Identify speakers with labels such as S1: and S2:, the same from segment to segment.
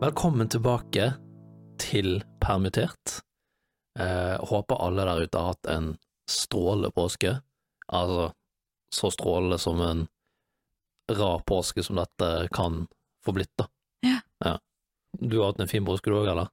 S1: Velkommen tilbake til Permittert. Eh, håper alle der ute har hatt en strålende påske. Altså, så strålende som en rar påske som dette kan få blitt, da.
S2: Ja.
S1: Du har hatt en fin påske du òg, eller?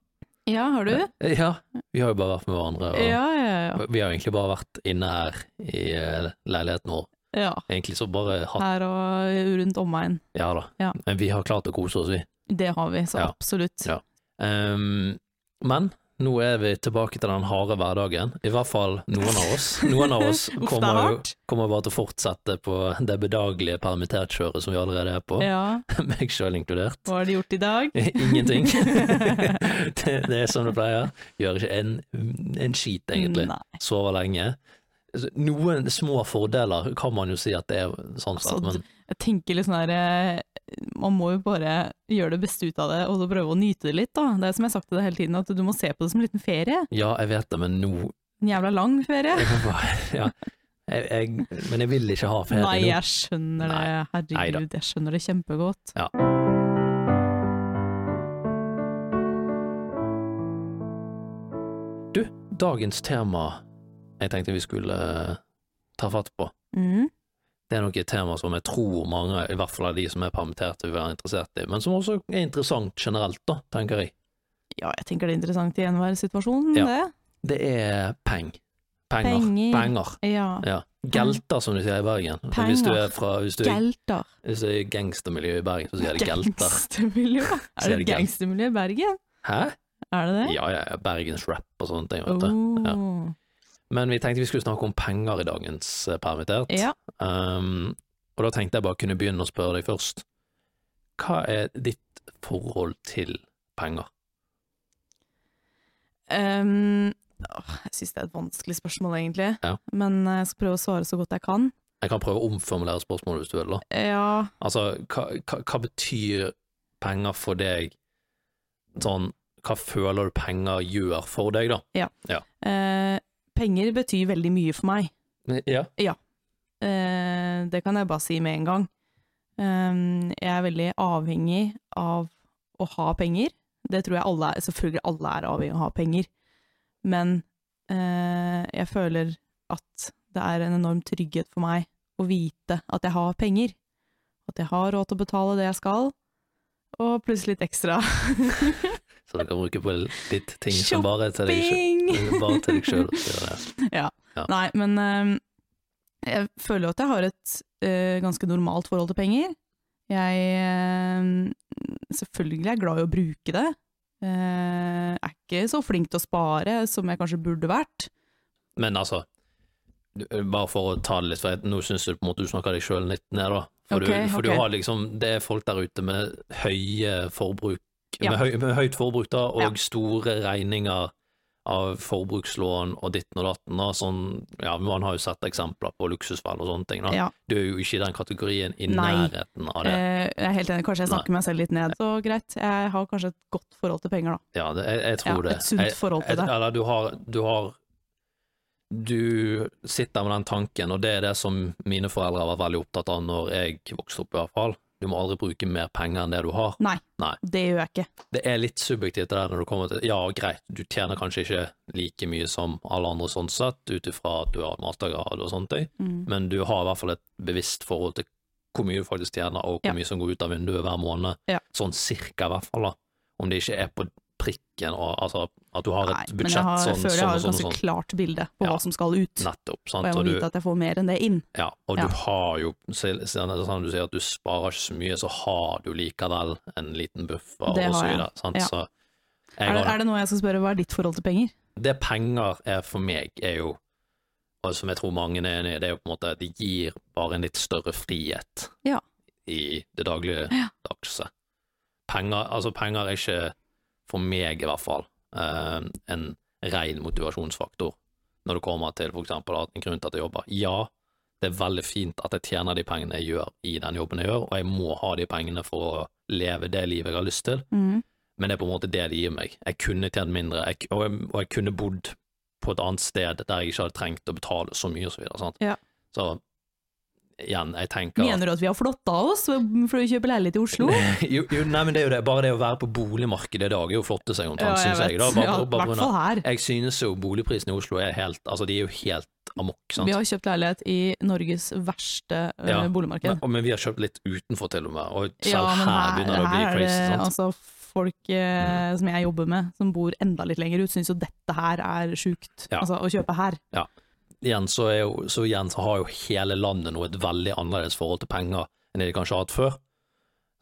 S2: Ja, har du?
S1: Eh, Ja, vi har jo bare vært med hverandre. Og
S2: Ja, ja,
S1: Vi har egentlig bare vært inne her i eh, leiligheten vår.
S2: ja. ja.
S1: Egentlig så bare hatt
S2: Her og rundt omegn.
S1: Ja da.
S2: Ja.
S1: Men vi har klart å kose oss, vi.
S2: Det har vi, så
S1: Ja.
S2: absolutt.
S1: Ja. Ehm, men nå er vi tilbake til den harde hverdagen. I hvert fall noen av oss. Noen av oss
S2: Uff, det er
S1: kommer, jo,
S2: hardt.
S1: kommer bare til å fortsette på det bedagelige permittertkjøret som vi allerede er på,
S2: Ja,
S1: meg sjøl inkludert.
S2: hva har de gjort i dag?
S1: Ingenting. det, det er som det pleier. Gjør ikke en, en skit, egentlig.
S2: Nei,
S1: Sover lenge. Altså, Noen små fordeler kan man jo si at det er sånn
S2: altså,
S1: sett, men
S2: jeg tenker litt sånn her eh, Man må jo bare gjøre det beste ut av det, og så prøve å nyte det litt, da. Det er som jeg har sagt til deg hele tiden, at du må se på det som en liten ferie.
S1: ja, jeg vet det, men nå
S2: En jævla lang ferie.
S1: jeg må bare, ja, jeg, jeg, Men jeg vil ikke ha ferie
S2: Nei,
S1: nå.
S2: jeg skjønner det.
S1: Neida.
S2: Herregud, jeg skjønner det kjempegodt.
S1: Dagens tema jeg tenkte vi skulle eh, ta fatt på,
S2: Mm.
S1: det er nok et tema som jeg tror mange, i hvert fall av de som er permitterte, vil være interessert i, men som også er interessant generelt, da, tenker jeg.
S2: Ja, jeg tenker det er interessant i enhver situasjon,
S1: Ja.
S2: det.
S1: Det er peng. Penger.
S2: Penger.
S1: Penger.
S2: Ja.
S1: Ja. Gelter, som de sier i Bergen.
S2: Penger.
S1: Hvis du er fra hvis du er,
S2: Gelter.
S1: hvis du er i gangstermiljø i Bergen, så sier de gelter.
S2: Gangstermiljø?
S1: Så
S2: Er
S1: er
S2: det
S1: det gang-
S2: gangstermiljø i Bergen?
S1: Hæ?
S2: Er det det?
S1: Ja, ja, ja, Bergens rap og sånne ting, vet du.
S2: Oh.
S1: Men vi tenkte vi skulle snakke om penger i dagens eh, permittert.
S2: Ja.
S1: Um, og da tenkte jeg bare kunne begynne å spørre deg først. Hva er ditt forhold til penger?
S2: ehm, åh, jeg syns det er et vanskelig spørsmål, egentlig.
S1: Ja.
S2: Men eh, jeg skal prøve å svare så godt jeg kan.
S1: Jeg kan prøve å omformulere spørsmålet hvis du vil. da.
S2: Ja,
S1: Altså, hva, hva, hva betyr penger for deg? Sånn, hva føler du penger gjør for deg, da?
S2: eh, penger betyr veldig mye for meg.
S1: Ja.
S2: Eh, det kan jeg bare si med en gang. Ehm, jeg er veldig avhengig av å ha penger. Det tror jeg alle er. Selvfølgelig alle er avhengig av å ha penger. Men eh, jeg føler at det er en enorm trygghet for meg å vite at jeg har penger. At jeg har råd til å betale det jeg skal, og pluss litt ekstra.
S1: Så du kan bruke på litt ting som bare er til deg sjøl.
S2: Bing!
S1: Bare til deg sjøl. Ja.
S2: Nei, men øhm, jeg føler jo at jeg har et øh, ganske normalt forhold til penger. Jeg øhm, selvfølgelig er glad i å bruke det. Uh, er ikke så flink til å spare som jeg kanskje burde vært.
S1: Men altså, du- eh, bare for å ta det litt, for jeg- nå syns jeg på en måte du snakker deg sjøl litt ned, da. For,
S2: Ok,
S1: du, for
S2: ok.
S1: du har liksom, det er folk der ute med høye forbruk,
S2: Ja.
S1: med, høy, med høyt forbruk da, og
S2: Ja.
S1: store regninger av forbrukslån og ditten og datten. Da. Sånn, ja, man har jo sett eksempler på luksusfell og sånne ting. Da.
S2: Ja.
S1: Du er jo ikke i den kategorien i
S2: Nei.
S1: nærheten av det.
S2: Eh, jeg er helt enig, kanskje jeg snakker meg selv litt ned. Så greit, jeg har kanskje et godt forhold til penger, da.
S1: Ja, det, jeg, jeg tror
S2: Ja,
S1: det.
S2: et sunt
S1: Jeg-
S2: forhold til
S1: jeg-
S2: det.
S1: Eller du har, du har Du sitter med den tanken, og det er det som mine foreldre har vært veldig opptatt av når jeg vokste opp, i hvert fall. Du må aldri bruke mer penger enn det du har.
S2: Det gjør jeg ikke.
S1: Det er litt subjektivt det der når du kommer til Ja, greit, du tjener kanskje ikke like mye som alle andre sånn sett, ut ifra at du har mastergrad og sånne ting,
S2: Mm.
S1: men du har i hvert fall et bevisst forhold til hvor mye du faktisk tjener, og hvor
S2: Ja.
S1: mye som går ut av vinduet hver måned.
S2: Ja.
S1: Sånn cirka, i hvert fall. da. Om det ikke er på prikken, og, altså at du har et
S2: Nei, men
S1: budsjett
S2: jeg, har, jeg
S1: sånn,
S2: føler jeg
S1: sånn
S2: har
S1: og
S2: et
S1: sånn. og
S2: ganske
S1: sånn.
S2: klart bilde på
S1: Ja.
S2: hva som skal ut.
S1: Nettopp. sant?
S2: Og jeg må
S1: Og, du,
S2: vite at jeg får mer enn det inn.
S1: ja, og
S2: Ja.
S1: du har jo, selv- selv om det er sånn du sier at du sparer ikke så mye, så har du likevel en liten buffer
S2: Det
S1: og så
S2: har jeg,
S1: videre. Sant?
S2: ja.
S1: Så jeg
S2: Er det,
S1: har,
S2: er det noe jeg skal spørre, hva er ditt forhold til penger?
S1: det penger er for meg, er jo og som jeg tror mange er enig i, det er jo på en måte at det gir bare en litt større frihet
S2: Ja.
S1: i det daglige
S2: Ja.
S1: dagse. Penger, altså penger er ikke, for meg i hvert fall, eh, en ren motivasjonsfaktor når det kommer til for eksempel at en grunn til at jeg jobber. Ja, det er veldig fint at jeg tjener de pengene jeg gjør i den jobben jeg gjør, og jeg må ha de pengene for å leve det livet jeg har lyst til,
S2: Mm.
S1: men det er på en måte det det gir meg. Jeg kunne tjent mindre, jeg, og, jeg, og jeg kunne bodd på et annet sted der jeg ikke hadde trengt å betale så mye og så videre. Sant?
S2: Ja.
S1: Så igjen, jeg tenker at-
S2: Mener du at vi har flotta oss for å kjøpe leilighet i Oslo?
S1: jo, jo, nei, men det er jo det. Bare det å være på boligmarkedet i dag er jo flotte seg omtrent,
S2: Ja,
S1: synes jeg. Da. Bare,
S2: Ja, I
S1: bare på
S2: hvert
S1: grunn av-
S2: fall her.
S1: jeg synes jo boligprisene i Oslo er helt Altså, de er jo helt amok, sant.
S2: Vi har kjøpt leilighet i Norges verste eh,
S1: Ja,
S2: boligmarked.
S1: men, men vi har kjøpt litt utenfor, til og med, og selv
S2: Ja, men
S1: her, begynner det å bli
S2: her er
S1: crazy, sant. Mm.
S2: altså folk eh, som jeg jobber med, som bor enda litt lenger ut, syns jo dette her er sjukt.
S1: Ja.
S2: Altså, å kjøpe her.
S1: igjen så, er jo, så igjen så har jo hele landet nå et veldig annerledes forhold til penger enn det de kanskje har hatt før.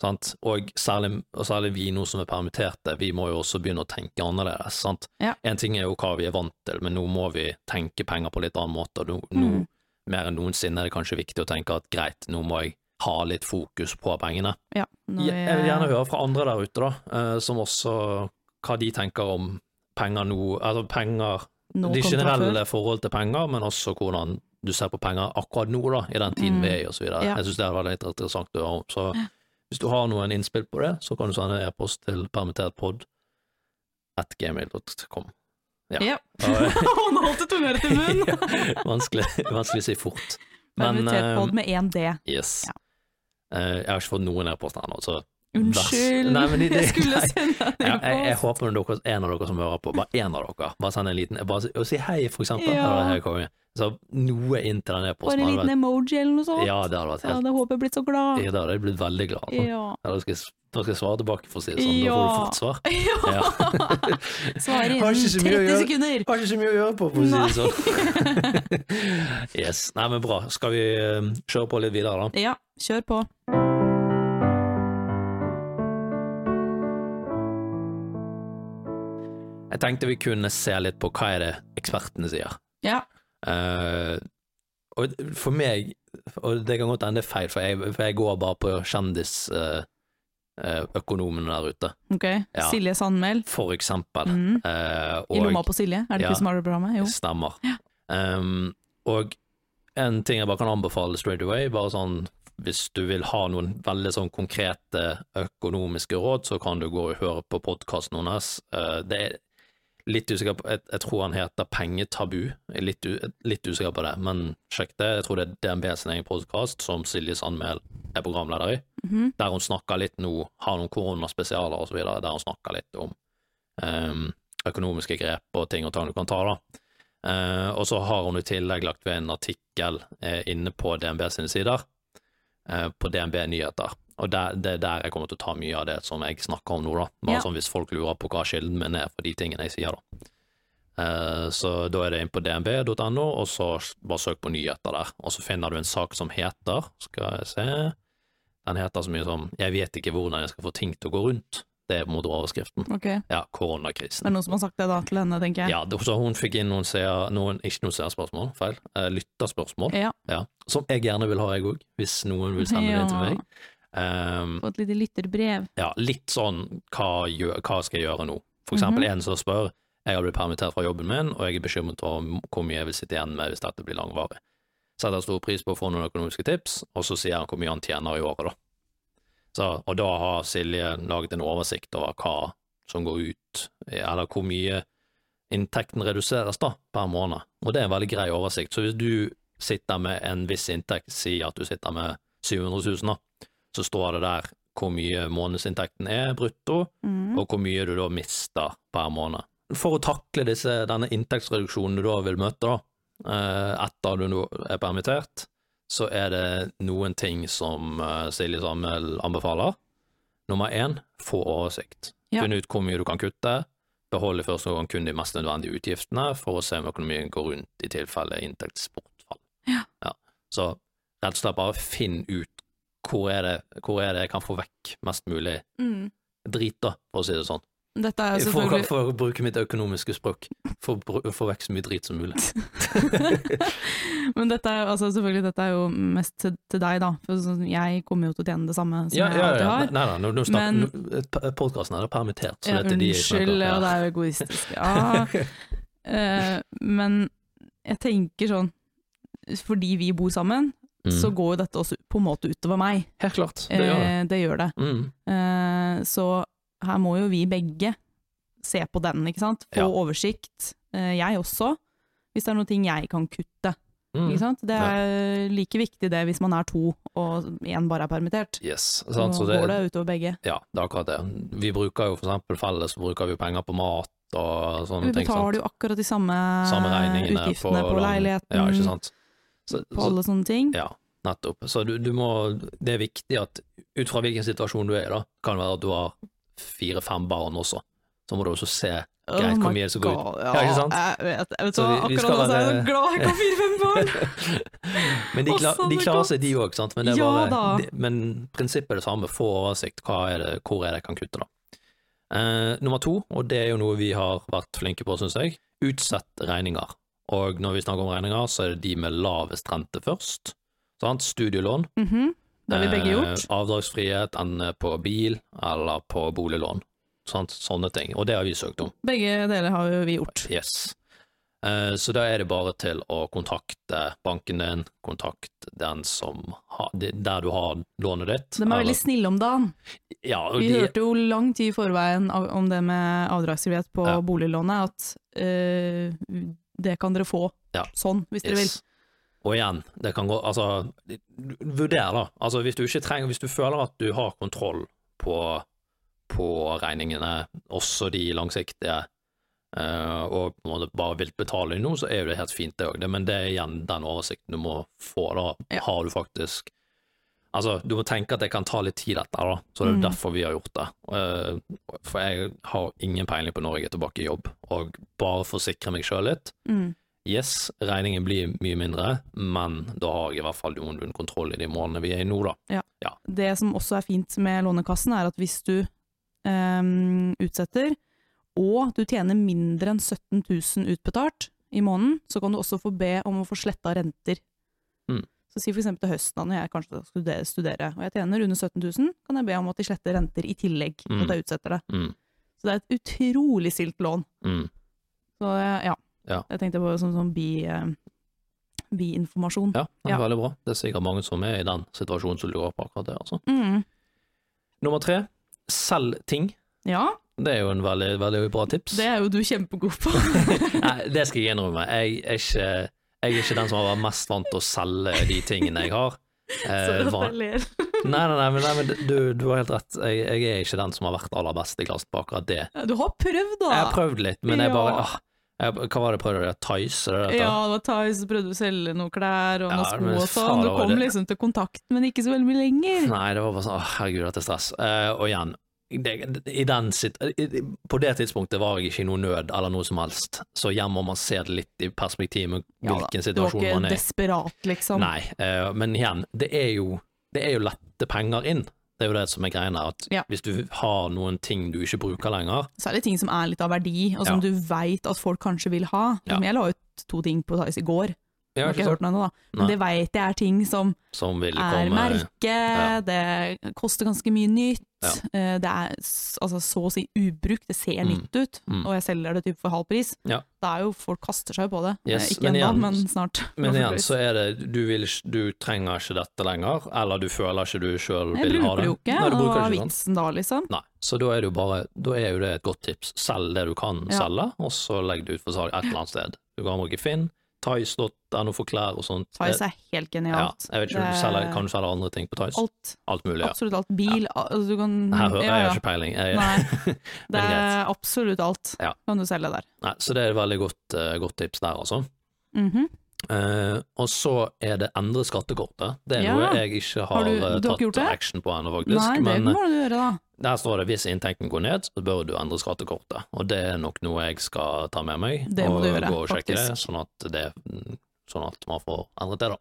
S1: Sant? Og, særlig, og særlig vi nå som er permitterte, vi må jo også begynne å tenke annerledes. Sant?
S2: Ja.
S1: En ting er jo hva vi er vant til, men nå må vi tenke penger på litt annen måte. og Nå, nå
S2: Mm.
S1: mer enn noensinne er det kanskje viktig å tenke at greit, nå må jeg ha litt fokus på pengene.
S2: Ja, når
S1: Jeg, jeg vil gjerne
S2: vi-
S1: høre fra andre der ute, da, eh, som også hva de tenker om penger nå, altså penger
S2: nå
S1: de
S2: kontra før.
S1: generelle forhold til penger, men også hvordan du ser på penger akkurat nå, da, i den tiden
S2: Mm.
S1: vi er i, osv. videre.
S2: Ja.
S1: Jeg syns det hadde vært litt interessant å høre om. Så hvis du har noen innspill på det, så kan du sende en e-post til permittertpod at gmail.com.
S2: Ja.
S1: Ja.
S2: Å, nå holdt du tunga rett i munnen!
S1: vanskelig, vanskelig å si fort. Men
S2: Permittert
S1: eh,
S2: pod med én D.
S1: yes.
S2: Ja.
S1: Eh, jeg har ikke fått noen e-poster ennå, så
S2: Unnskyld,
S1: Nei, men de- de-
S2: jeg skulle
S1: nei.
S2: sende deg
S1: jeg, jeg,
S2: en
S1: jeg
S2: e-post.
S1: håper dere, en av dere som hører på, bare en av dere, bare send en liten bare, si- og si hei, for eksempel.
S2: Ja.
S1: Eller, hei, konge. Så noe inn til den
S2: Bare
S1: e-posten.
S2: en
S1: hadde vært-
S2: liten emoji eller noe sånt.
S1: Ja, det hadde vært
S2: Så
S1: helt
S2: hadde håpet blitt så glad.
S1: ja, Da hadde jeg blitt veldig glad. sånn.
S2: Ja.
S1: Ja, da, skal jeg, s- da skal jeg svare tilbake, for å si det sånn. Da får du
S2: Ja.
S1: fort svar.
S2: Ja. Svarer
S1: Har ikke
S2: innen
S1: så mye å gjøre.
S2: 30 sekunder.
S1: Har ikke så mye å gjøre på, for å si det sånn. yes. Nei, men bra. Skal vi eh, kjøre på litt videre, da?
S2: Ja, kjør på.
S1: Jeg tenkte vi kunne se litt på hva er det ekspertene sier.
S2: Ja.
S1: Eh, og for meg, og det kan godt hende det er feil, for jeg, for jeg går bare på kjendisøkonomene der ute,
S2: Ok.
S1: Ja.
S2: Silje Sandmæl.
S1: for eksempel.
S2: Mm.
S1: Eh,
S2: I
S1: og-
S2: lomma på Silje, er det
S1: Ja.
S2: ikke Smartere-programmet? Jo.
S1: Stemmer. Um, og en ting jeg bare kan anbefale straight away, bare sånn hvis du vil ha noen veldig sånn konkrete økonomiske råd, så kan du gå og høre på podkasten hennes. Uh, det er litt usikker på jeg, jeg tror han heter Pengetabu. Jeg er litt, u, litt usikker på det, men sjekk det. Jeg tror det er DNB sin egen podkast, som Silje Sandmæl er programleder i
S2: Mhm.
S1: der hun snakker litt nå, har noen koronaspesialer og så videre, der hun snakker litt om ehm, økonomiske grep og ting og tang du kan ta, da. Eh, og så har hun i tillegg lagt ved en artikkel eh, inne på DNB sine sider, eh, på DNB Nyheter. Og der, det er der jeg kommer til å ta mye av det som jeg snakker om nå, da. Bare
S2: Ja.
S1: sånn hvis folk lurer på hva kilden min er for de tingene jeg sier, da. Eh, så da er det inn på dnb.no, og så bare søk på nyheter der. Og så finner du en sak som heter, skal jeg se den heter så mye som 'Jeg vet ikke hvordan jeg skal få ting til å gå rundt'. Det er på en måte overskriften.
S2: Ok. Det
S1: Ja,
S2: er
S1: koronakrisen.
S2: noen som har sagt det da til henne, tenker jeg.
S1: Ja, det- så hun fikk inn noen seer, noen, ikke noen seerspørsmål, feil, eh, lytterspørsmål,
S2: Ja.
S1: ja, som jeg gjerne vil ha, jeg òg, hvis noen vil sende det inn til
S2: Ja.
S1: meg. Ehm,
S2: Få et lite lytterbrev.
S1: ja, litt sånn hva, gjør, hva skal jeg gjøre nå? For eksempel en som spør jeg har blitt permittert fra jobben min, og jeg er bekymret for hvor mye jeg vil sitte igjen med hvis dette blir langvarig. Setter stor pris på å få noen økonomiske tips, og så sier han hvor mye han tjener i året, da. Så, og da har Silje laget en oversikt over hva som går ut, eller hvor mye inntekten reduseres da, per måned. Og det er en veldig grei oversikt. Så hvis du sitter med en viss inntekt, si at du sitter med 700 000 da, så står det der hvor mye månedsinntekten er brutto,
S2: Mhm.
S1: og hvor mye du da mister per måned. Mm. For å takle disse, denne inntektsreduksjonen du da vil møte, da, eh, etter du nå er permittert, så er det noen ting som eh, Silje Samuel anbefaler. Nummer én, få oversikt.
S2: Ja.
S1: Finn ut hvor mye du kan kutte. Behold i første gang kun de mest nødvendige utgiftene, for å se om økonomien går rundt i tilfelle inntektsbortfall.
S2: Ja.
S1: Så rett og slett bare finn ut hvor er det, hvor er det jeg kan få vekk mest mulig
S2: Mhm.
S1: drit, da, for å si det sånn.
S2: Dette er jo
S1: For,
S2: selvfølgelig
S1: for å bruke mitt økonomiske språk. For å bru- få vekk så mye drit som mulig.
S2: Men dette er, jo- altså, selvfølgelig, dette er jo mest til, til deg, da. For sånn, jeg kommer jo til å tjene det samme som jeg alltid har.
S1: Nei, nei, nei, nå, nå
S2: Men-
S1: snakker, nå- eh, podcasten er da permittert, så
S2: Ja,
S1: dette er de jeg snakker
S2: unnskyld,
S1: om.
S2: og det er jo egoistisk. Ja. Eh, men jeg tenker sånn Fordi vi bor sammen,
S1: Mm.
S2: så går jo dette også på en måte utover meg.
S1: Helt klart. Det gjør det.
S2: Eh, det gjør det.
S1: Mm.
S2: Eh, så her må jo vi begge se på den, ikke sant? Få
S1: Ja.
S2: oversikt. Eh, jeg også, hvis det er noen ting jeg kan kutte.
S1: Mm.
S2: Ikke sant? Det er like viktig det hvis man er to og én bare er permittert.
S1: Yes. Sant? Så
S2: Nå
S1: det,
S2: går det utover begge.
S1: ja, det er akkurat det. Vi bruker jo for eksempel felles, så bruker vi jo penger på mat og sånne
S2: Vi
S1: ting.
S2: betaler jo akkurat de samme,
S1: Samme regningene
S2: utgiftene på,
S1: lang-
S2: leiligheten,
S1: Ja, ikke sant. Så,
S2: på
S1: så,
S2: alle sånne ting.
S1: ja, nettopp. Så du, du må Det er viktig at ut fra hvilken situasjon du er i, da, kan det være at du har fire-fem barn også. Så må du også se greit, hvor
S2: Oh my
S1: mye som går ut.
S2: God,
S1: Ja, ikke sant?
S2: Jeg vet, jeg vet
S1: Så
S2: hva,
S1: vi- vi
S2: akkurat
S1: skal
S2: nå så er jeg
S1: være-
S2: så glad jeg har fire-fem barn!
S1: Men de,
S2: Å,
S1: kla,
S2: sånn
S1: de
S2: det
S1: klarer
S2: godt.
S1: seg, de òg, sant. Men, det er
S2: Ja
S1: bare,
S2: da.
S1: det- men prinsippet er det samme. Få oversikt. Hva er det, hvor er det jeg kan kutte, da. Eh, nummer to, og det er jo noe vi har vært flinke på, syns jeg, utsett regninger. Og når vi snakker om regninger, så er det de med lavest rente først. Sant? Studielån.
S2: Mhm. Det har vi begge gjort.
S1: Eh, avdragsfrihet, enten på bil eller på boliglån. Sant? Sånne ting. Og det har vi søkt om.
S2: Begge deler har jo vi gjort.
S1: Yes. Eh, Så da er det bare til å kontakte banken din, kontakt den som har, de- der du har lånet ditt.
S2: De er
S1: eller-
S2: veldig snille om dagen.
S1: ja, og
S2: Vi
S1: de,
S2: hørte jo lang tid i forveien av- om det med avdragsfrihet på
S1: Ja.
S2: boliglånet, at eh, det kan dere få
S1: Ja.
S2: sånn, hvis dere vil.
S1: Yes. Og igjen, det kan gå Altså, vurder da. Altså, hvis du ikke trenger Hvis du føler at du har kontroll på, på regningene, også de langsiktige, eh, og på en måte bare vil betale nå, så er jo det helt fint, det òg. Men det er igjen den oversikten du må få, da.
S2: Ja.
S1: Har du faktisk Altså, du må tenke at det kan ta litt tid, dette, her, da. Så det er
S2: Mm.
S1: jo derfor vi har gjort det. Eh, for jeg har ingen peiling på når jeg er tilbake i jobb, og bare for å sikre meg sjøl litt
S2: Mm.
S1: Yes, regningen blir mye mindre, men da har jeg i hvert fall noenlunde kontroll i de månedene vi er i nå, da.
S2: Det som også er fint med Lånekassen, er at hvis du ehm, utsetter, og du tjener mindre enn 17 000 utbetalt i måneden, så kan du også få be om å få sletta renter.
S1: Mm.
S2: Så si for eksempel til høsten, da, når jeg kanskje skal studere, studere, og jeg tjener under 17 000, kan jeg be om at de sletter renter i tillegg til
S1: Mm.
S2: at jeg utsetter det.
S1: Mm,
S2: Så det er et utrolig stilt lån.
S1: mm,
S2: Så eh, ja,
S1: Ja.
S2: jeg tenkte på som sånn bi, eh, biinformasjon.
S1: ja, det er
S2: Ja.
S1: veldig bra. Det er sikkert mange som er i den situasjonen som lurer på akkurat det, altså.
S2: Mm.
S1: Nummer tre, selg ting.
S2: ja,
S1: Det er jo en veldig, veldig bra tips.
S2: det er jo du kjempegod på.
S1: Nei, det skal jeg innrømme. Jeg er ikke, jeg er ikke den som har vært mest vant til å selge de tingene jeg har.
S2: Så
S1: Eh,
S2: at
S1: van-
S2: jeg ler.
S1: nei, nei, nei, men- nei, men du, du har helt rett. Jeg, jeg er ikke den som har vært aller best i klassen på akkurat det.
S2: Ja, Du har prøvd, da!
S1: Jeg har prøvd litt, men jeg
S2: Ah. Ja.
S1: bare ah, jeg, Hva var det jeg prøvde? Tice? er det dette?
S2: Ja, det var Thais, så prøvde du å selge noen klær og
S1: Ja,
S2: noen sko
S1: men
S2: og
S1: faen,
S2: sånn. Du
S1: det var
S2: kom
S1: det.
S2: liksom til kontakt, men ikke så veldig mye lenger.
S1: Nei, det var bare sånn, åh, herregud, dette er stress. Eh, og igjen, det, i den sit i- på det tidspunktet var jeg ikke i noe nød eller noe som helst, så her må man se det litt i perspektiv med
S2: Ja da,
S1: hvilken
S2: Du var
S1: situasjon
S2: ikke
S1: man er i.
S2: desperat, liksom.
S1: Nei, eh, men igjen, det er, jo, det er jo lette penger inn. Det er jo det som er greia her, at
S2: Ja.
S1: hvis du har noen ting du ikke bruker lenger,
S2: Særlig ting som er litt av verdi, og som
S1: Ja.
S2: du veit at folk kanskje vil ha.
S1: Ja.
S2: Som jeg la ut to ting på Thais i går,
S1: ja,
S2: har
S1: ikke
S2: ikke
S1: sant?
S2: hørt noe ennå, da.
S1: Nei.
S2: Men det veit jeg er ting som
S1: som vil
S2: er
S1: komme
S2: merke,
S1: eh, ja.
S2: det koster ganske mye nytt,
S1: Ja.
S2: eh, det er s- altså, så å si ubrukt, det ser
S1: Mm.
S2: nytt ut,
S1: Mm.
S2: og jeg selger det typ for halv pris.
S1: Ja.
S2: Da er jo folk kaster seg jo på det.
S1: Yes,
S2: Eh, Ikke
S1: men
S2: ennå,
S1: igjen-
S2: men snart.
S1: Men igjen, så er det du, vil, ikke- du trenger ikke dette lenger, eller du føler ikke du sjøl
S2: Jeg
S1: vil ha det.
S2: bruker det jo ikke,
S1: Nei, du
S2: og
S1: bruker
S2: hva
S1: det
S2: er
S1: ikke, sant?
S2: vitsen da, liksom?
S1: Nei, så da er det jo bare Da er jo det et godt tips. Selg det du kan
S2: Ja.
S1: selge, og så legg det ut for salg et eller annet sted. Du kan bruke Finn, Tice.no for klær og sånt.
S2: Tice er helt
S1: Eh, ja,
S2: genialt.
S1: jeg vet ikke, du
S2: Det-
S1: selger, Kan du selge andre ting på Tice? Alt,
S2: Alt,
S1: mulig, ja.
S2: absolutt alt. Bil, altså du kan
S1: Her hører
S2: ja,
S1: jeg
S2: ja.
S1: har ikke peiling. Jeg,
S2: Nei, det
S1: Men
S2: er
S1: greit.
S2: absolutt alt
S1: Ja.
S2: kan du selge der.
S1: Nei, så det er et veldig godt, eh, godt tips der, altså.
S2: Mhm.
S1: Eh, og så er det endre skattekortet. Det er
S2: Ja.
S1: noe jeg ikke har,
S2: Har du-
S1: eh,
S2: du har ikke gjort
S1: tatt
S2: det?
S1: action på ennå, faktisk.
S2: Nei, det
S1: men eh,
S2: må du gjøre da.
S1: der står det hvis inntekten går ned, så bør du endre skattekortet. Og det er nok noe jeg skal ta med meg
S2: Det må
S1: og
S2: du gjøre,
S1: gå og sjekke det,
S2: faktisk.
S1: sånn at, det, sånn at man får endret det, da.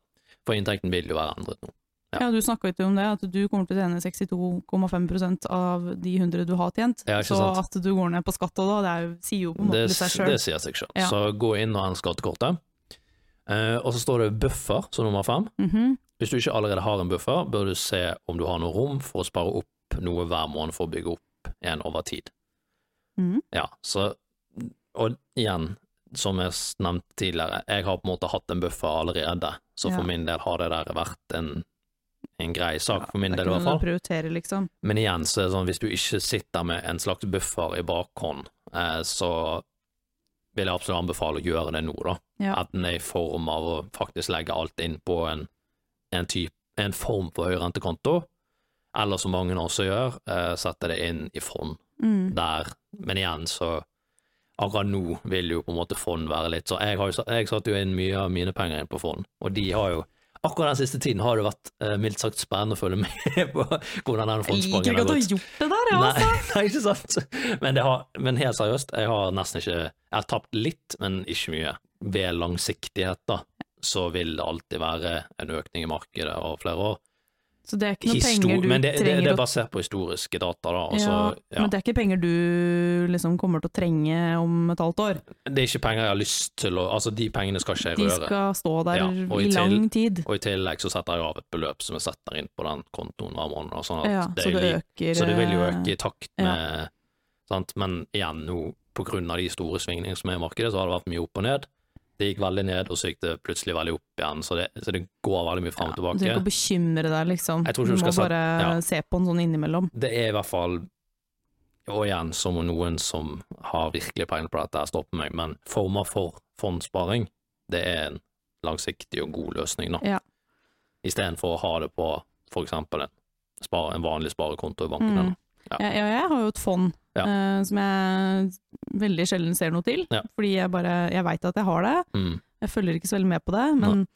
S1: For inntekten vil jo være endret nå. ja.
S2: Ja, du snakka ikke om det, at du kommer til å tjene 62,5 av de 100 du har tjent.
S1: Ja, ikke
S2: så
S1: sant.
S2: at du går ned på skatta da, det er, jo- sier jo på en
S1: Det,
S2: måte litt seg
S1: s-
S2: sjøl.
S1: det sier seg selv.
S2: Ja.
S1: Så gå inn og endre skattekortet. Eh, og så står det buffer som nummer fem.
S2: Mhm,
S1: Hvis du ikke allerede har en buffer, bør du se om du har noe rom for å spare opp noe hver måned for å bygge opp en over tid.
S2: Mhm.
S1: Ja, så Og igjen, som jeg s- nevnte tidligere, jeg har på en måte hatt en buffer allerede, så for
S2: Ja.
S1: min del har det der vært en, en grei sak, for min
S2: Det er
S1: del i
S2: ikke
S1: hvert
S2: noe du
S1: fall.
S2: prioriterer, liksom.
S1: Men igjen, så er det sånn, hvis du ikke sitter med en slags buffer i bakhånd, eh, så vil jeg absolutt anbefale å gjøre det nå, da.
S2: Ja.
S1: Enten det er i form av å faktisk legge alt inn på en, en, typ, en form for høyrentekonto, eller som mange også gjør, eh, sette det inn i fond
S2: Mm.
S1: der. Men igjen, så akkurat nå vil jo på en måte fond være litt så Jeg, har jo, sa- jeg satte jo inn mye av mine penger inn på fond, og de har jo Akkurat den siste tiden har det vært eh, mildt sagt spennende å følge med på hvordan den
S2: Jeg liker
S1: fondspangen har
S2: ikke at du
S1: gått.
S2: har gjort det der, ja, altså.
S1: Nei, nei, ikke sant? Men, det har, men helt seriøst, jeg har nesten ikke Jeg har tapt litt, men ikke mye. Ved langsiktighet, da, så vil det alltid være en økning i markedet over flere år.
S2: Så det er ikke noen
S1: Histo-
S2: penger du
S1: men det, det,
S2: trenger
S1: det
S2: å
S1: er basert på historiske data, da. Og så,
S2: ja,
S1: ja.
S2: Men det er ikke penger du liksom kommer til å trenge om et halvt år.
S1: Det er ikke penger jeg har lyst til å Altså, de pengene skal ikke jeg
S2: De
S1: røre.
S2: skal stå der
S1: Ja, og i
S2: i
S1: til-
S2: lang tid.
S1: Og i tillegg så setter jeg av et beløp som jeg setter inn på den kontoen hver måned. og Sånn at
S2: Ja,
S1: det
S2: så
S1: er jo
S2: det
S1: lik-
S2: øker
S1: Så det vil jo øke
S2: eh,
S1: i takt
S2: ja.
S1: med sant? Men igjen, nå på grunn av de store svingningene som er i markedet, så har det vært mye opp og ned. Det gikk veldig ned, og så gikk det plutselig veldig opp igjen, så det, så det går veldig mye fram og
S2: Du trenger ikke
S1: tilbake.
S2: å bekymre deg, liksom.
S1: Jeg
S2: Du
S1: tror ikke
S2: må
S1: du skal
S2: bare
S1: ja.
S2: se på den sånn innimellom.
S1: Det er i hvert fall, og igjen, som noen som har virkelig peiling på dette, her, stopper meg, men former for fondssparing, det er en langsiktig og god løsning, da.
S2: Ja.
S1: Istedenfor å ha det på for eksempel en, spar, en vanlig sparekonto i banken.
S2: Mm.
S1: eller- Ja.
S2: Jeg, ja, jeg har jo et fond
S1: Ja.
S2: eh, som jeg veldig sjelden ser noe til,
S1: Ja.
S2: fordi jeg bare jeg veit at jeg har det.
S1: Mm.
S2: Jeg følger ikke så veldig med på det, men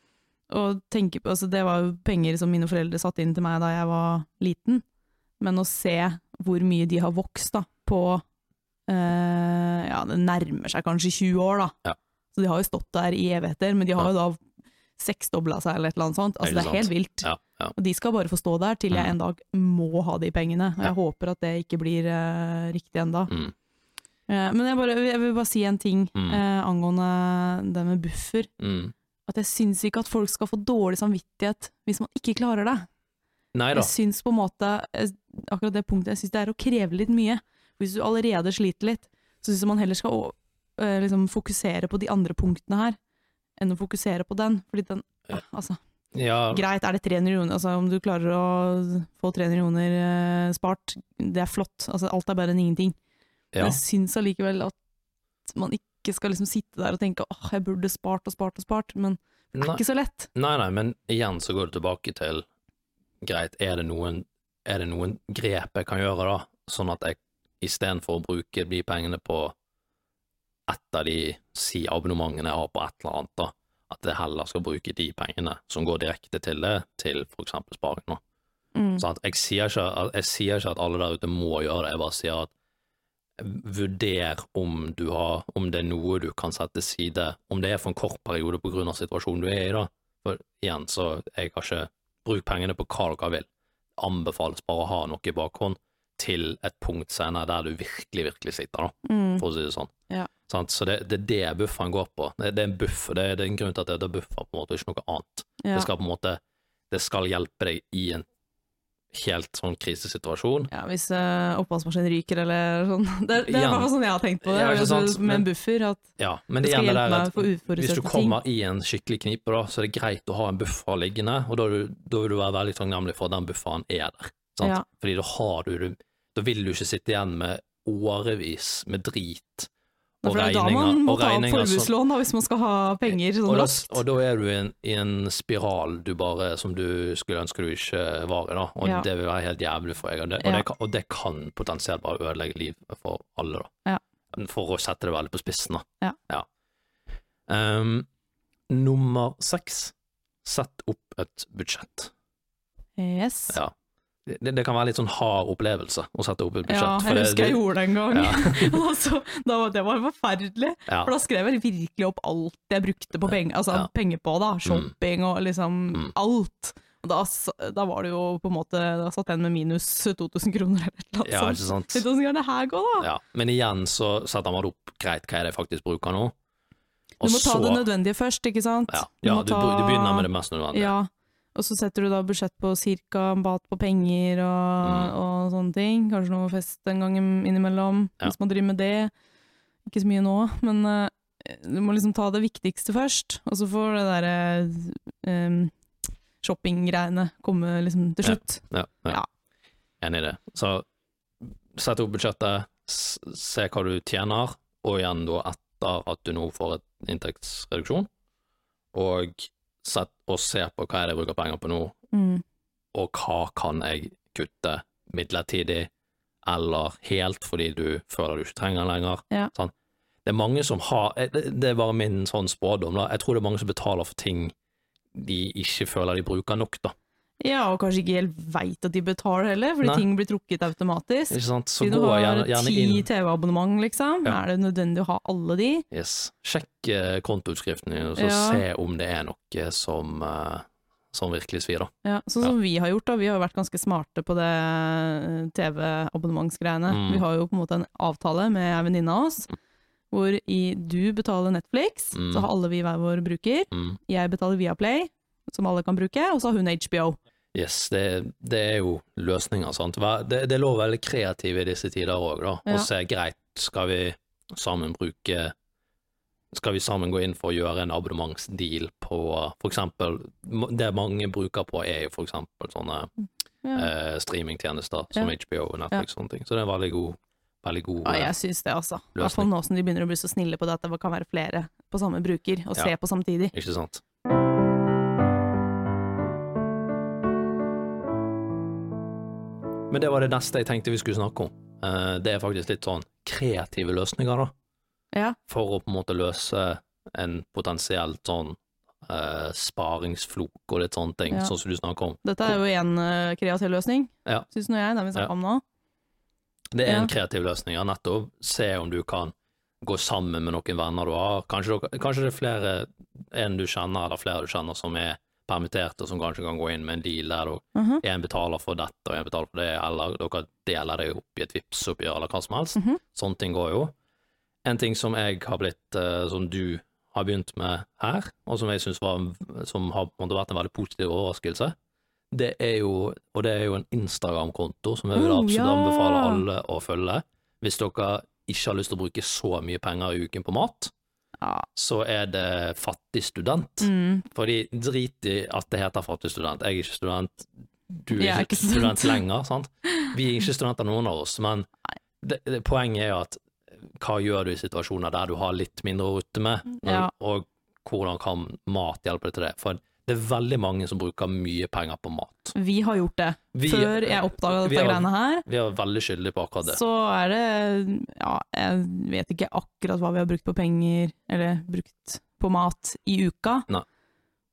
S2: å tenke på altså Det var jo penger som mine foreldre satte inn til meg da jeg var liten, men å se hvor mye de har vokst da, på eh, Ja, det nærmer seg kanskje 20 år, da.
S1: Ja.
S2: Så de har jo stått der i evigheter, men de har
S1: Ja.
S2: jo da seksdobla seg eller et eller annet sånt.
S1: Ikke
S2: Altså, det er helt
S1: sant?
S2: vilt.
S1: Ja, ja.
S2: Og de skal bare få stå der til
S1: Mm.
S2: jeg en dag må ha de pengene. Og jeg håper at det ikke blir eh, riktig enda.
S1: Mm.
S2: Eh, men jeg, bare, jeg vil bare si en ting
S1: Mm.
S2: eh, angående det med buffer.
S1: Mm.
S2: At jeg syns ikke at folk skal få dårlig samvittighet hvis man ikke klarer det.
S1: Nei da.
S2: Jeg syns på en måte eh, akkurat det punktet, jeg syns det er å kreve litt mye. Hvis du allerede sliter litt, så syns jeg man heller skal å, eh, liksom, fokusere på de andre punktene her, enn å fokusere på den. Fordi den
S1: Ja.
S2: Altså,
S1: Ja,
S2: greit, er det 300 kroner, altså om du klarer å få 300 kroner eh, spart, det er flott, altså alt er bedre enn ingenting.
S1: ja.
S2: Men jeg syns allikevel at man ikke skal liksom sitte der og tenke åh, jeg burde spart og spart og spart, men det er
S1: Nei.
S2: ikke så lett.
S1: Nei, nei, men igjen så går det tilbake til Greit, er det noen, er det noen grep jeg kan gjøre da, sånn at jeg istedenfor å bruke de pengene på et av de si abonnementene jeg har på et eller annet, da, at jeg heller skal bruke de pengene som går direkte til det, til for eksempel sparing nå.
S2: Mm.
S1: Sant? Jeg, sier ikke, Sånn at- jeg sier ikke at alle der ute må gjøre det, jeg bare sier at vurder om du har, om det er noe du kan sette til side, om det er for en kort periode på grunn av situasjonen du er i da. For igjen, så jeg har ikke bruk pengene på hva dere vil. Anbefales bare å ha noe i bakhånd til et punkt senere der du virkelig, virkelig sitter da,
S2: Mm.
S1: for å si det sånn.
S2: Ja.
S1: Sant? Så det, det er det bufferen går på. Det, det er en buffer, det, er- det er en grunn til at det, det er buffer på en måte, ikke noe annet.
S2: Ja.
S1: Det skal på en måte Det skal hjelpe deg i en helt sånn krisesituasjon.
S2: Ja, hvis uh, oppvaskmaskinen ryker eller sånn. Det, det er i
S1: Igjen.
S2: hvert fall sånn jeg har tenkt på det.
S1: Ja, ikke
S2: altså,
S1: sant,
S2: Med
S1: men-
S2: en buffer, at
S1: Ja, men
S2: det
S1: det
S2: skal
S1: igjen det
S2: hjelpe
S1: der
S2: meg
S1: at
S2: for
S1: hvis du
S2: uforutsette ting.
S1: kommer i en skikkelig knipe, da, så er det greit å ha en buffer liggende, og da, er du, da vil du være veldig takknemlig for at den bufferen er der. Sant?
S2: Ja.
S1: Fordi da har du det Da vil du ikke sitte igjen med årevis med drit og
S2: Da, for det er jo da
S1: regninger.
S2: man må
S1: og
S2: ta opp
S1: regninger som-
S2: formueslån da, hvis man skal ha penger sånn
S1: og da,
S2: raskt.
S1: og da er du i en, i en spiral du bare, som du skulle ønske du ikke var i, da. og
S2: Ja.
S1: det vil være helt jævlig for deg. Og det, og,
S2: Ja.
S1: det kan, og det kan potensielt bare ødelegge livet for alle, da.
S2: Ja.
S1: For å sette det veldig på spissen, da.
S2: Ja.
S1: Ehm, nummer seks, sett opp et budsjett.
S2: Yes. Ja,
S1: Ja. Det, det kan være litt sånn hard opplevelse å sette opp et budsjett. for
S2: jeg
S1: det-
S2: husker jeg gjorde det en gang.
S1: Ja,
S2: Og så- da var det var forferdelig.
S1: ja.
S2: For da skrev jeg virkelig opp alt jeg brukte på penger, altså,
S1: Ja.
S2: penger på, da. Shopping og liksom
S1: Mm.
S2: alt. Og da, s- da var det jo på en måte Da satt jeg igjen med minus 2000 kroner eller et eller
S1: ja, altså.
S2: annet sånt.
S1: ikke sant.
S2: Vet du hvordan skal det her gå, da?
S1: Ja, men igjen så setter man det opp greit hva er det jeg faktisk bruker nå.
S2: Du må ta
S1: så-
S2: det nødvendige først, ikke sant?
S1: Ja, ja
S2: må
S1: du, du begynner med det mest nødvendige.
S2: Ja, og så setter du da budsjett på cirka en bat på penger og,
S1: Mm.
S2: og sånne ting. Kanskje noe fest en gang innimellom,
S1: Ja.
S2: hvis man driver med det. Ikke så mye nå, men eh, du må liksom ta det viktigste først, og så får det derre eh, shoppinggreiene komme liksom til
S1: Ja.
S2: slutt.
S1: Ja, ja.
S2: Ja.
S1: Enig i det. Så sett opp budsjettet, s- se hva du tjener, og igjen da et etter at du nå får et inntektsreduksjon, og, sett, og ser på hva er det jeg bruker penger på nå,
S2: Mm.
S1: og hva kan jeg kutte midlertidig, eller helt fordi du føler du ikke trenger den lenger.
S2: Ja.
S1: Sånn. Det er mange som har eh, Det det er bare min sånn spådom, da. Jeg tror det er mange som betaler for ting de ikke føler de bruker nok, da.
S2: Ja, og kanskje ikke helt veit at de betaler heller, fordi
S1: Nei.
S2: ting blir trukket automatisk.
S1: Ikke sant? Så
S2: Siden
S1: gå
S2: du har
S1: gjerne, gjerne
S2: ti
S1: inn
S2: TV-abonnement, liksom,
S1: Ja.
S2: er det nødvendig å ha alle de?
S1: yes. Sjekk eh, kontoutskriften din, og så
S2: Ja.
S1: se om det er noe som, eh, som virkelig svir, da.
S2: Ja, sånn som vi har gjort, da. Vi har jo vært ganske smarte på det eh, TV-abonnementsgreiene.
S1: Mm.
S2: Vi har jo på en måte en avtale med ei venninne av oss, hvor i du betaler Netflix,
S1: Mm.
S2: så har alle vi hver vår bruker.
S1: Mm.
S2: Jeg betaler Viaplay, som alle kan bruke, og så har hun HBO.
S1: Yes, det, det er jo løsninger, sant. Hva- Det, det er lov å være litt kreativ i disse tider òg, da.
S2: Ja.
S1: Og se, greit, skal vi sammen bruke Skal vi sammen gå inn for å gjøre en abonnementsdeal på for eksempel m- Det mange bruker på, er jo for eksempel sånne
S2: Mm. Ja.
S1: eh, streamingtjenester som
S2: Ja.
S1: HBO og Netflix og sånne ting. Så det er en veldig god, veldig god
S2: Ja,
S1: eh,
S2: jeg syns det, altså. I hvert fall nå som de begynner å bli så snille på det at det kan være flere på samme bruker, og
S1: Ja.
S2: se på samtidig.
S1: Ikke sant? Men det var det neste jeg tenkte vi skulle snakke om. Eh, Det er faktisk litt sånn kreative løsninger, da.
S2: Ja.
S1: For å på en måte løse en potensielt sånn eh, sparingsflok og litt sånne ting,
S2: Ja.
S1: sånn som du snakker om.
S2: Dette er jo en eh, kreativ løsning,
S1: Ja.
S2: syns nå jeg, den vi
S1: Ja.
S2: snakker om nå.
S1: Det er en
S2: Ja.
S1: kreativ løsning, ja, nettopp. Se om du kan gå sammen med noen venner du har. Kanskje, dere- kanskje det er flere en du kjenner, eller flere du kjenner som er permitterte, som kanskje kan gå inn med en deal der dere
S2: Mhm.
S1: en betaler for dette og en betaler for det, eller dere deler det opp i et Vipps-oppgjør eller hva som helst.
S2: Mhm.
S1: Sånne ting går jo. En ting som jeg har blitt, eh, som du har begynt med her, og som jeg synes var, en- som har på en måte vært en veldig positiv overraskelse, det er jo, og det er jo en Instagram-konto som jeg vil
S2: Oh,
S1: absolutt
S2: ja.
S1: anbefale alle å følge. Hvis dere ikke har lyst til å bruke så mye penger i uken på mat,
S2: Ja.
S1: så er det Fattig student.
S2: Mm.
S1: Fordi drit i at det heter fattig student. Jeg er ikke student, du er
S2: Jeg
S1: ikke,
S2: er ikke
S1: student
S2: student.
S1: lenger. sant? Vi er ikke studenter noen av oss, men det, det, poenget er jo at hva gjør du i situasjoner der du har litt mindre å rutte med, når,
S2: Mm, Ja.
S1: og hvordan kan mat hjelpe deg til det? For det er veldig mange som bruker mye penger på mat.
S2: Vi har gjort det.
S1: Vi-
S2: Før jeg
S1: vi
S2: oppdaga dette
S1: har-
S2: greiene her,
S1: Vi er veldig skyldige på akkurat det.
S2: så er det Ja, jeg vet ikke akkurat hva vi har brukt på penger, eller brukt på mat, i uka.
S1: Nei.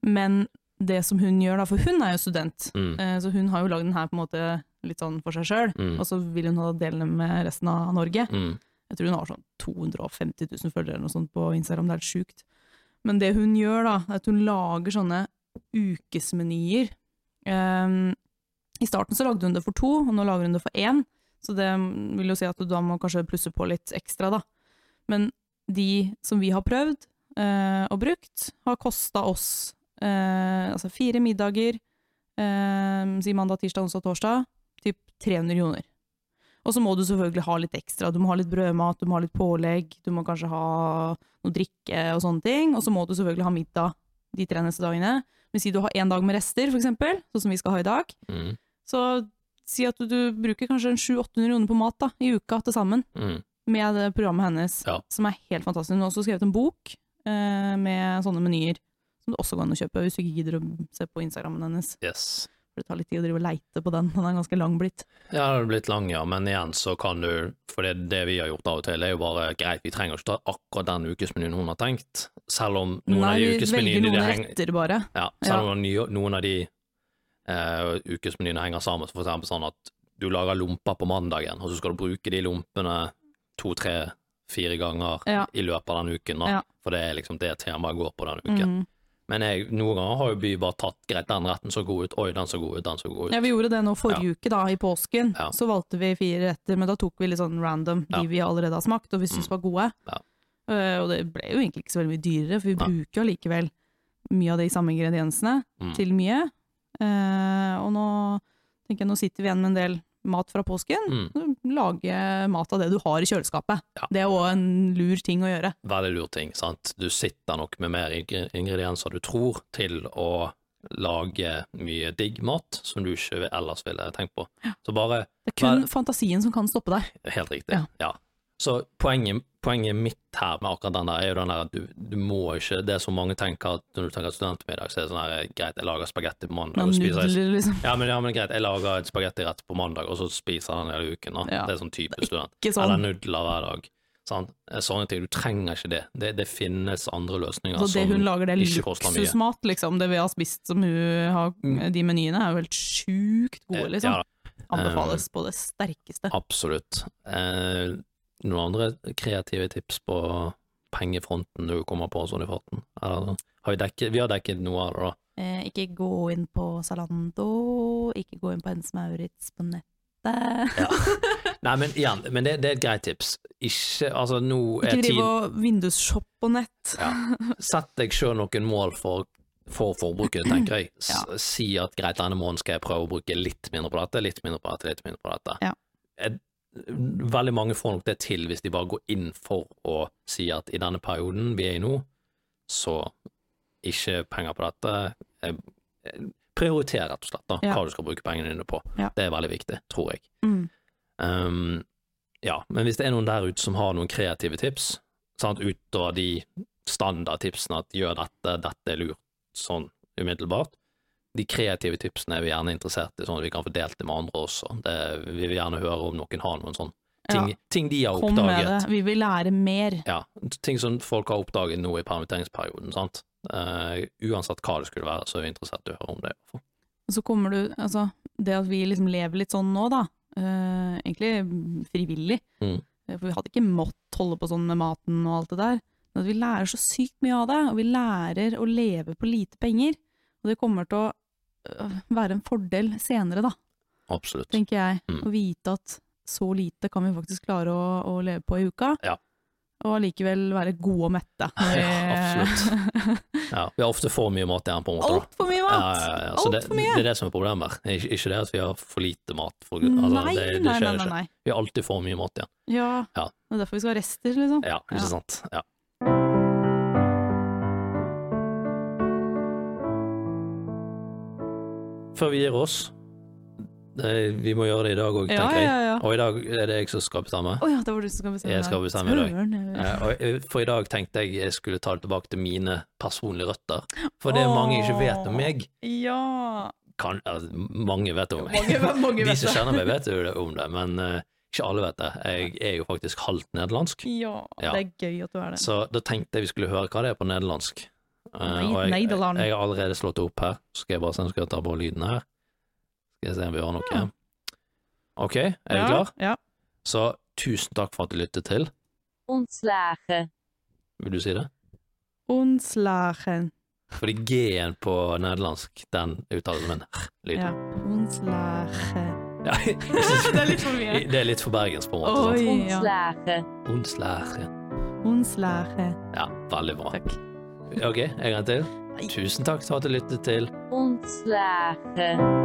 S2: Men det som hun gjør, da, for hun er jo student,
S1: Mm,
S2: eh, så hun har jo lagd den her på en måte litt sånn for seg sjøl,
S1: mm,
S2: og så vil hun ha dele den med resten av Norge.
S1: mm,
S2: Jeg tror hun har sånn 250 000 følgere eller noe sånt på Instagram, det er helt sjukt. Men det hun gjør da, er at hun lager sånne ukesmenyer. Ehm, I starten så lagde hun det for to, og nå lager hun det for én. Så det vil jo si at du da må kanskje plusse på litt ekstra da. Men de som vi har prøvd eh, og brukt, har kosta oss eh, altså fire middager, eh, si mandag, tirsdag, onsdag, torsdag, typ 300 kroner. Og så må du selvfølgelig ha litt ekstra. Du må ha litt brødmat, du må ha litt pålegg, du må kanskje ha noe drikke og sånne ting. Og så må du selvfølgelig ha middag de tre neste dagene. Men si du har én dag med rester, for eksempel, sånn som vi skal ha i dag,
S1: mm,
S2: så si at du, du bruker kanskje en 700-800 kroner på mat da, i uka til sammen
S1: mm.
S2: med det programmet hennes,
S1: Ja.
S2: som er helt fantastisk. Hun har også skrevet en bok eh, med sånne menyer, som det også går an å kjøpe hvis du ikke gidder å se på Instagrammen hennes.
S1: Yes.
S2: For det tar litt tid å drive og leite på den, den er ganske lang blitt.
S1: Ja, det har blitt lang, ja, men igjen så kan du, for det, det vi har gjort av og til, er jo bare greit, vi trenger ikke ta akkurat den ukesmenyen hun har tenkt, selv om noen av
S2: Nei,
S1: de
S2: vi velger
S1: ukesmenyene de
S2: noen
S1: henger,
S2: retter bare.
S1: ja, selv om nye- noen av de eh, ukesmenyene henger sammen, så for eksempel sånn at du lager lomper på mandagen, og så skal du bruke de lompene to, tre, fire ganger
S2: Ja.
S1: i løpet av den uken, da,
S2: Ja.
S1: for det er liksom det temaet går på den uken.
S2: Mm.
S1: Men jeg, noen ganger har jo vi bare tatt, greit, den retten så god ut, oi, den så god ut, den så god ut.
S2: Ja, vi gjorde det nå forrige uke, da, i påsken.
S1: Ja.
S2: Så valgte vi fire retter, men da tok vi litt sånn random de
S1: Ja. Mm.
S2: vi allerede har smakt, og vi syntes var gode.
S1: Ja.
S2: Eh, og det ble jo egentlig ikke så veldig mye dyrere, for vi
S1: Nei.
S2: bruker jo allikevel mye av de samme ingrediensene
S1: Mm.
S2: til mye. Eh, og nå tenker jeg, nå sitter vi igjen med en del mat fra påsken.
S1: Mm.
S2: Lage mat av det du har i kjøleskapet.
S1: Ja.
S2: Det er òg en lur ting å gjøre.
S1: veldig lur ting, sant. Du sitter nok med mer ingre- ingredienser du tror til å lage mye digg mat som du ikke ellers ville tenkt på. Så bare
S2: Det er kun
S1: Hva-
S2: fantasien som kan stoppe deg.
S1: Helt riktig. Ja.
S2: Ja.
S1: Så poenget, poenget mitt her med akkurat den der, er jo den der at du, du må ikke Det er så mange tenker at når du tenker studentmiddag, så er det sånn her greit, jeg lager spagetti på mandag
S2: Men
S1: og spiser jeg,
S2: nudler, liksom.
S1: ja, men, ja, men greit, jeg lager et spagettirett på mandag, og så spiser jeg den hele uken. Da.
S2: Ja.
S1: Det er sånn type student.
S2: Ikke
S1: Eller
S2: sånn.
S1: nudler hver dag. Sant? Eh, Sånne ting. Du trenger ikke det. Det, det finnes andre løsninger.
S2: Så det
S1: som-
S2: hun lager, det er
S1: ikke koster mye. Mm.
S2: luksusmat, liksom. Det vi har spist som hun har De menyene er jo helt sjukt gode,
S1: Eh, Ja, Eh.
S2: liksom. Anbefales på det sterkeste.
S1: Absolutt. Eh, noen andre kreative tips på pengefronten du kommer på sånn i farten? Eller, har vi, dekket, vi har dekket noe av det, da.
S2: Eh, ikke gå inn på Zalando, ikke gå inn på Hennes Maurits på
S1: Eh,
S2: nettet.
S1: Nei, men igjen, men det, det er et greit tips. Ikke Altså, nå
S2: Ikke
S1: er
S2: drive
S1: tiden
S2: og vindusshoppe på nett.
S1: Sett deg sjøl noen mål for, for forbruket, tenker jeg. S
S2: Ja.
S1: Si at greit, denne måneden skal jeg prøve å bruke litt mindre på dette, litt mindre på dette, litt mindre på dette.
S2: Ja.
S1: Jeg- Veldig mange får nok det til hvis de bare går inn for å si at i denne perioden vi er i nå, så ikke penger på dette. Jeg- jeg- Prioriter rett og slett da,
S2: Ja.
S1: hva du skal bruke pengene dine på.
S2: Ja.
S1: Det er veldig viktig, tror jeg.
S2: Mm.
S1: Um, ja, men hvis det er noen der ute som har noen kreative tips, sant, utover de standardtipsene at gjør dette, dette er lurt, sånn umiddelbart, de kreative tipsene er vi gjerne interessert i, sånn at vi kan få delt det med andre også. Det, vi vil gjerne høre om noen har noen sånn ting,
S2: Ja,
S1: ting de har
S2: kom med det.
S1: oppdaget.
S2: Vi vil lære mer.
S1: Ja, ting som folk har oppdaget nå i permitteringsperioden, sant. Eh, uansett hva det skulle være, så er vi interessert i å høre om det.
S2: Og så kommer du, altså, det at vi liksom lever litt sånn nå da, eh, egentlig mm, frivillig,
S1: Mm.
S2: Eh, for vi hadde ikke mått holde på sånn med maten og alt det der, men at vi lærer så sykt mye av det, og vi lærer å leve på lite penger, og det kommer til å øh, være en fordel senere da,
S1: Absolutt.
S2: tenker jeg,
S1: Mm.
S2: å vite at så lite kan vi faktisk klare å, å leve på i uka,
S1: Ja.
S2: og allikevel være gode og mette.
S1: Ja, absolutt. Ja, vi har ofte for mye mat igjen, på en måte. da.
S2: Alt for mye mat!
S1: Ja, ja, ja. Så
S2: Alt
S1: det,
S2: for mye.
S1: det er det som er problemet her. Ikke, ikke det at vi har for lite mat. For,
S2: Nei,
S1: altså,
S2: nei,
S1: det, det
S2: nei,
S1: skjer
S2: nei, nei,
S1: ikke. Vi har alltid for mye mat igjen.
S2: Ja,
S1: Ja.
S2: det er derfor vi skal ha rester, liksom.
S1: Ja, ikke
S2: Ja.
S1: sant. Ja. Før vi gir oss eh, Vi må gjøre det i dag òg,
S2: Ja,
S1: tenker jeg.
S2: ja, ja.
S1: Og i dag er det jeg som skal bestemme.
S2: Å ja, det var du som skal bestemme.
S1: Jeg skal
S2: det.
S1: bestemme i dag.
S2: Søren, jeg-
S1: Eh, og jeg- For i dag tenkte jeg jeg skulle ta det tilbake til mine personlige røtter. For det
S2: Åh.
S1: mange ikke vet om meg
S2: Ja.
S1: kan, altså, Mange vet om meg.
S2: Mange, mange
S1: De
S2: vet
S1: som
S2: det.
S1: kjenner meg, vet jo det om det, men eh, ikke alle vet det. Jeg er jo faktisk halvt nederlandsk,
S2: Ja,
S1: Ja.
S2: det er gøy at du er det.
S1: så da tenkte jeg vi skulle høre hva det er på nederlandsk. Eh,
S2: Nei,
S1: og jeg, jeg,
S2: Nederland.
S1: har allerede slått det opp her, så skal jeg bare se om jeg skal ta på lyden her. Skal jeg se om vi har noe.
S2: Ja.
S1: Ok, er du
S2: ja,
S1: klar?
S2: Ja.
S1: Så tusen takk for at du lyttet til.
S3: Ontslagen.
S1: Vil du si det?
S2: Onslagen.
S1: Fordi G-en på nederlandsk, den uttales som en r-lyd.
S2: Ja. Onslagen.
S1: Ja, jeg synes-
S2: Det er litt for mye.
S1: det er litt for bergensk, på en måte.
S2: Oi,
S1: sant?
S2: ja.
S1: Onslære.
S3: Ontslagen.
S2: Onslagen.
S1: Ja, veldig bra.
S2: Takk.
S1: Ok, en gang til. Tusen takk for at du lyttet til.
S3: Ontslagen.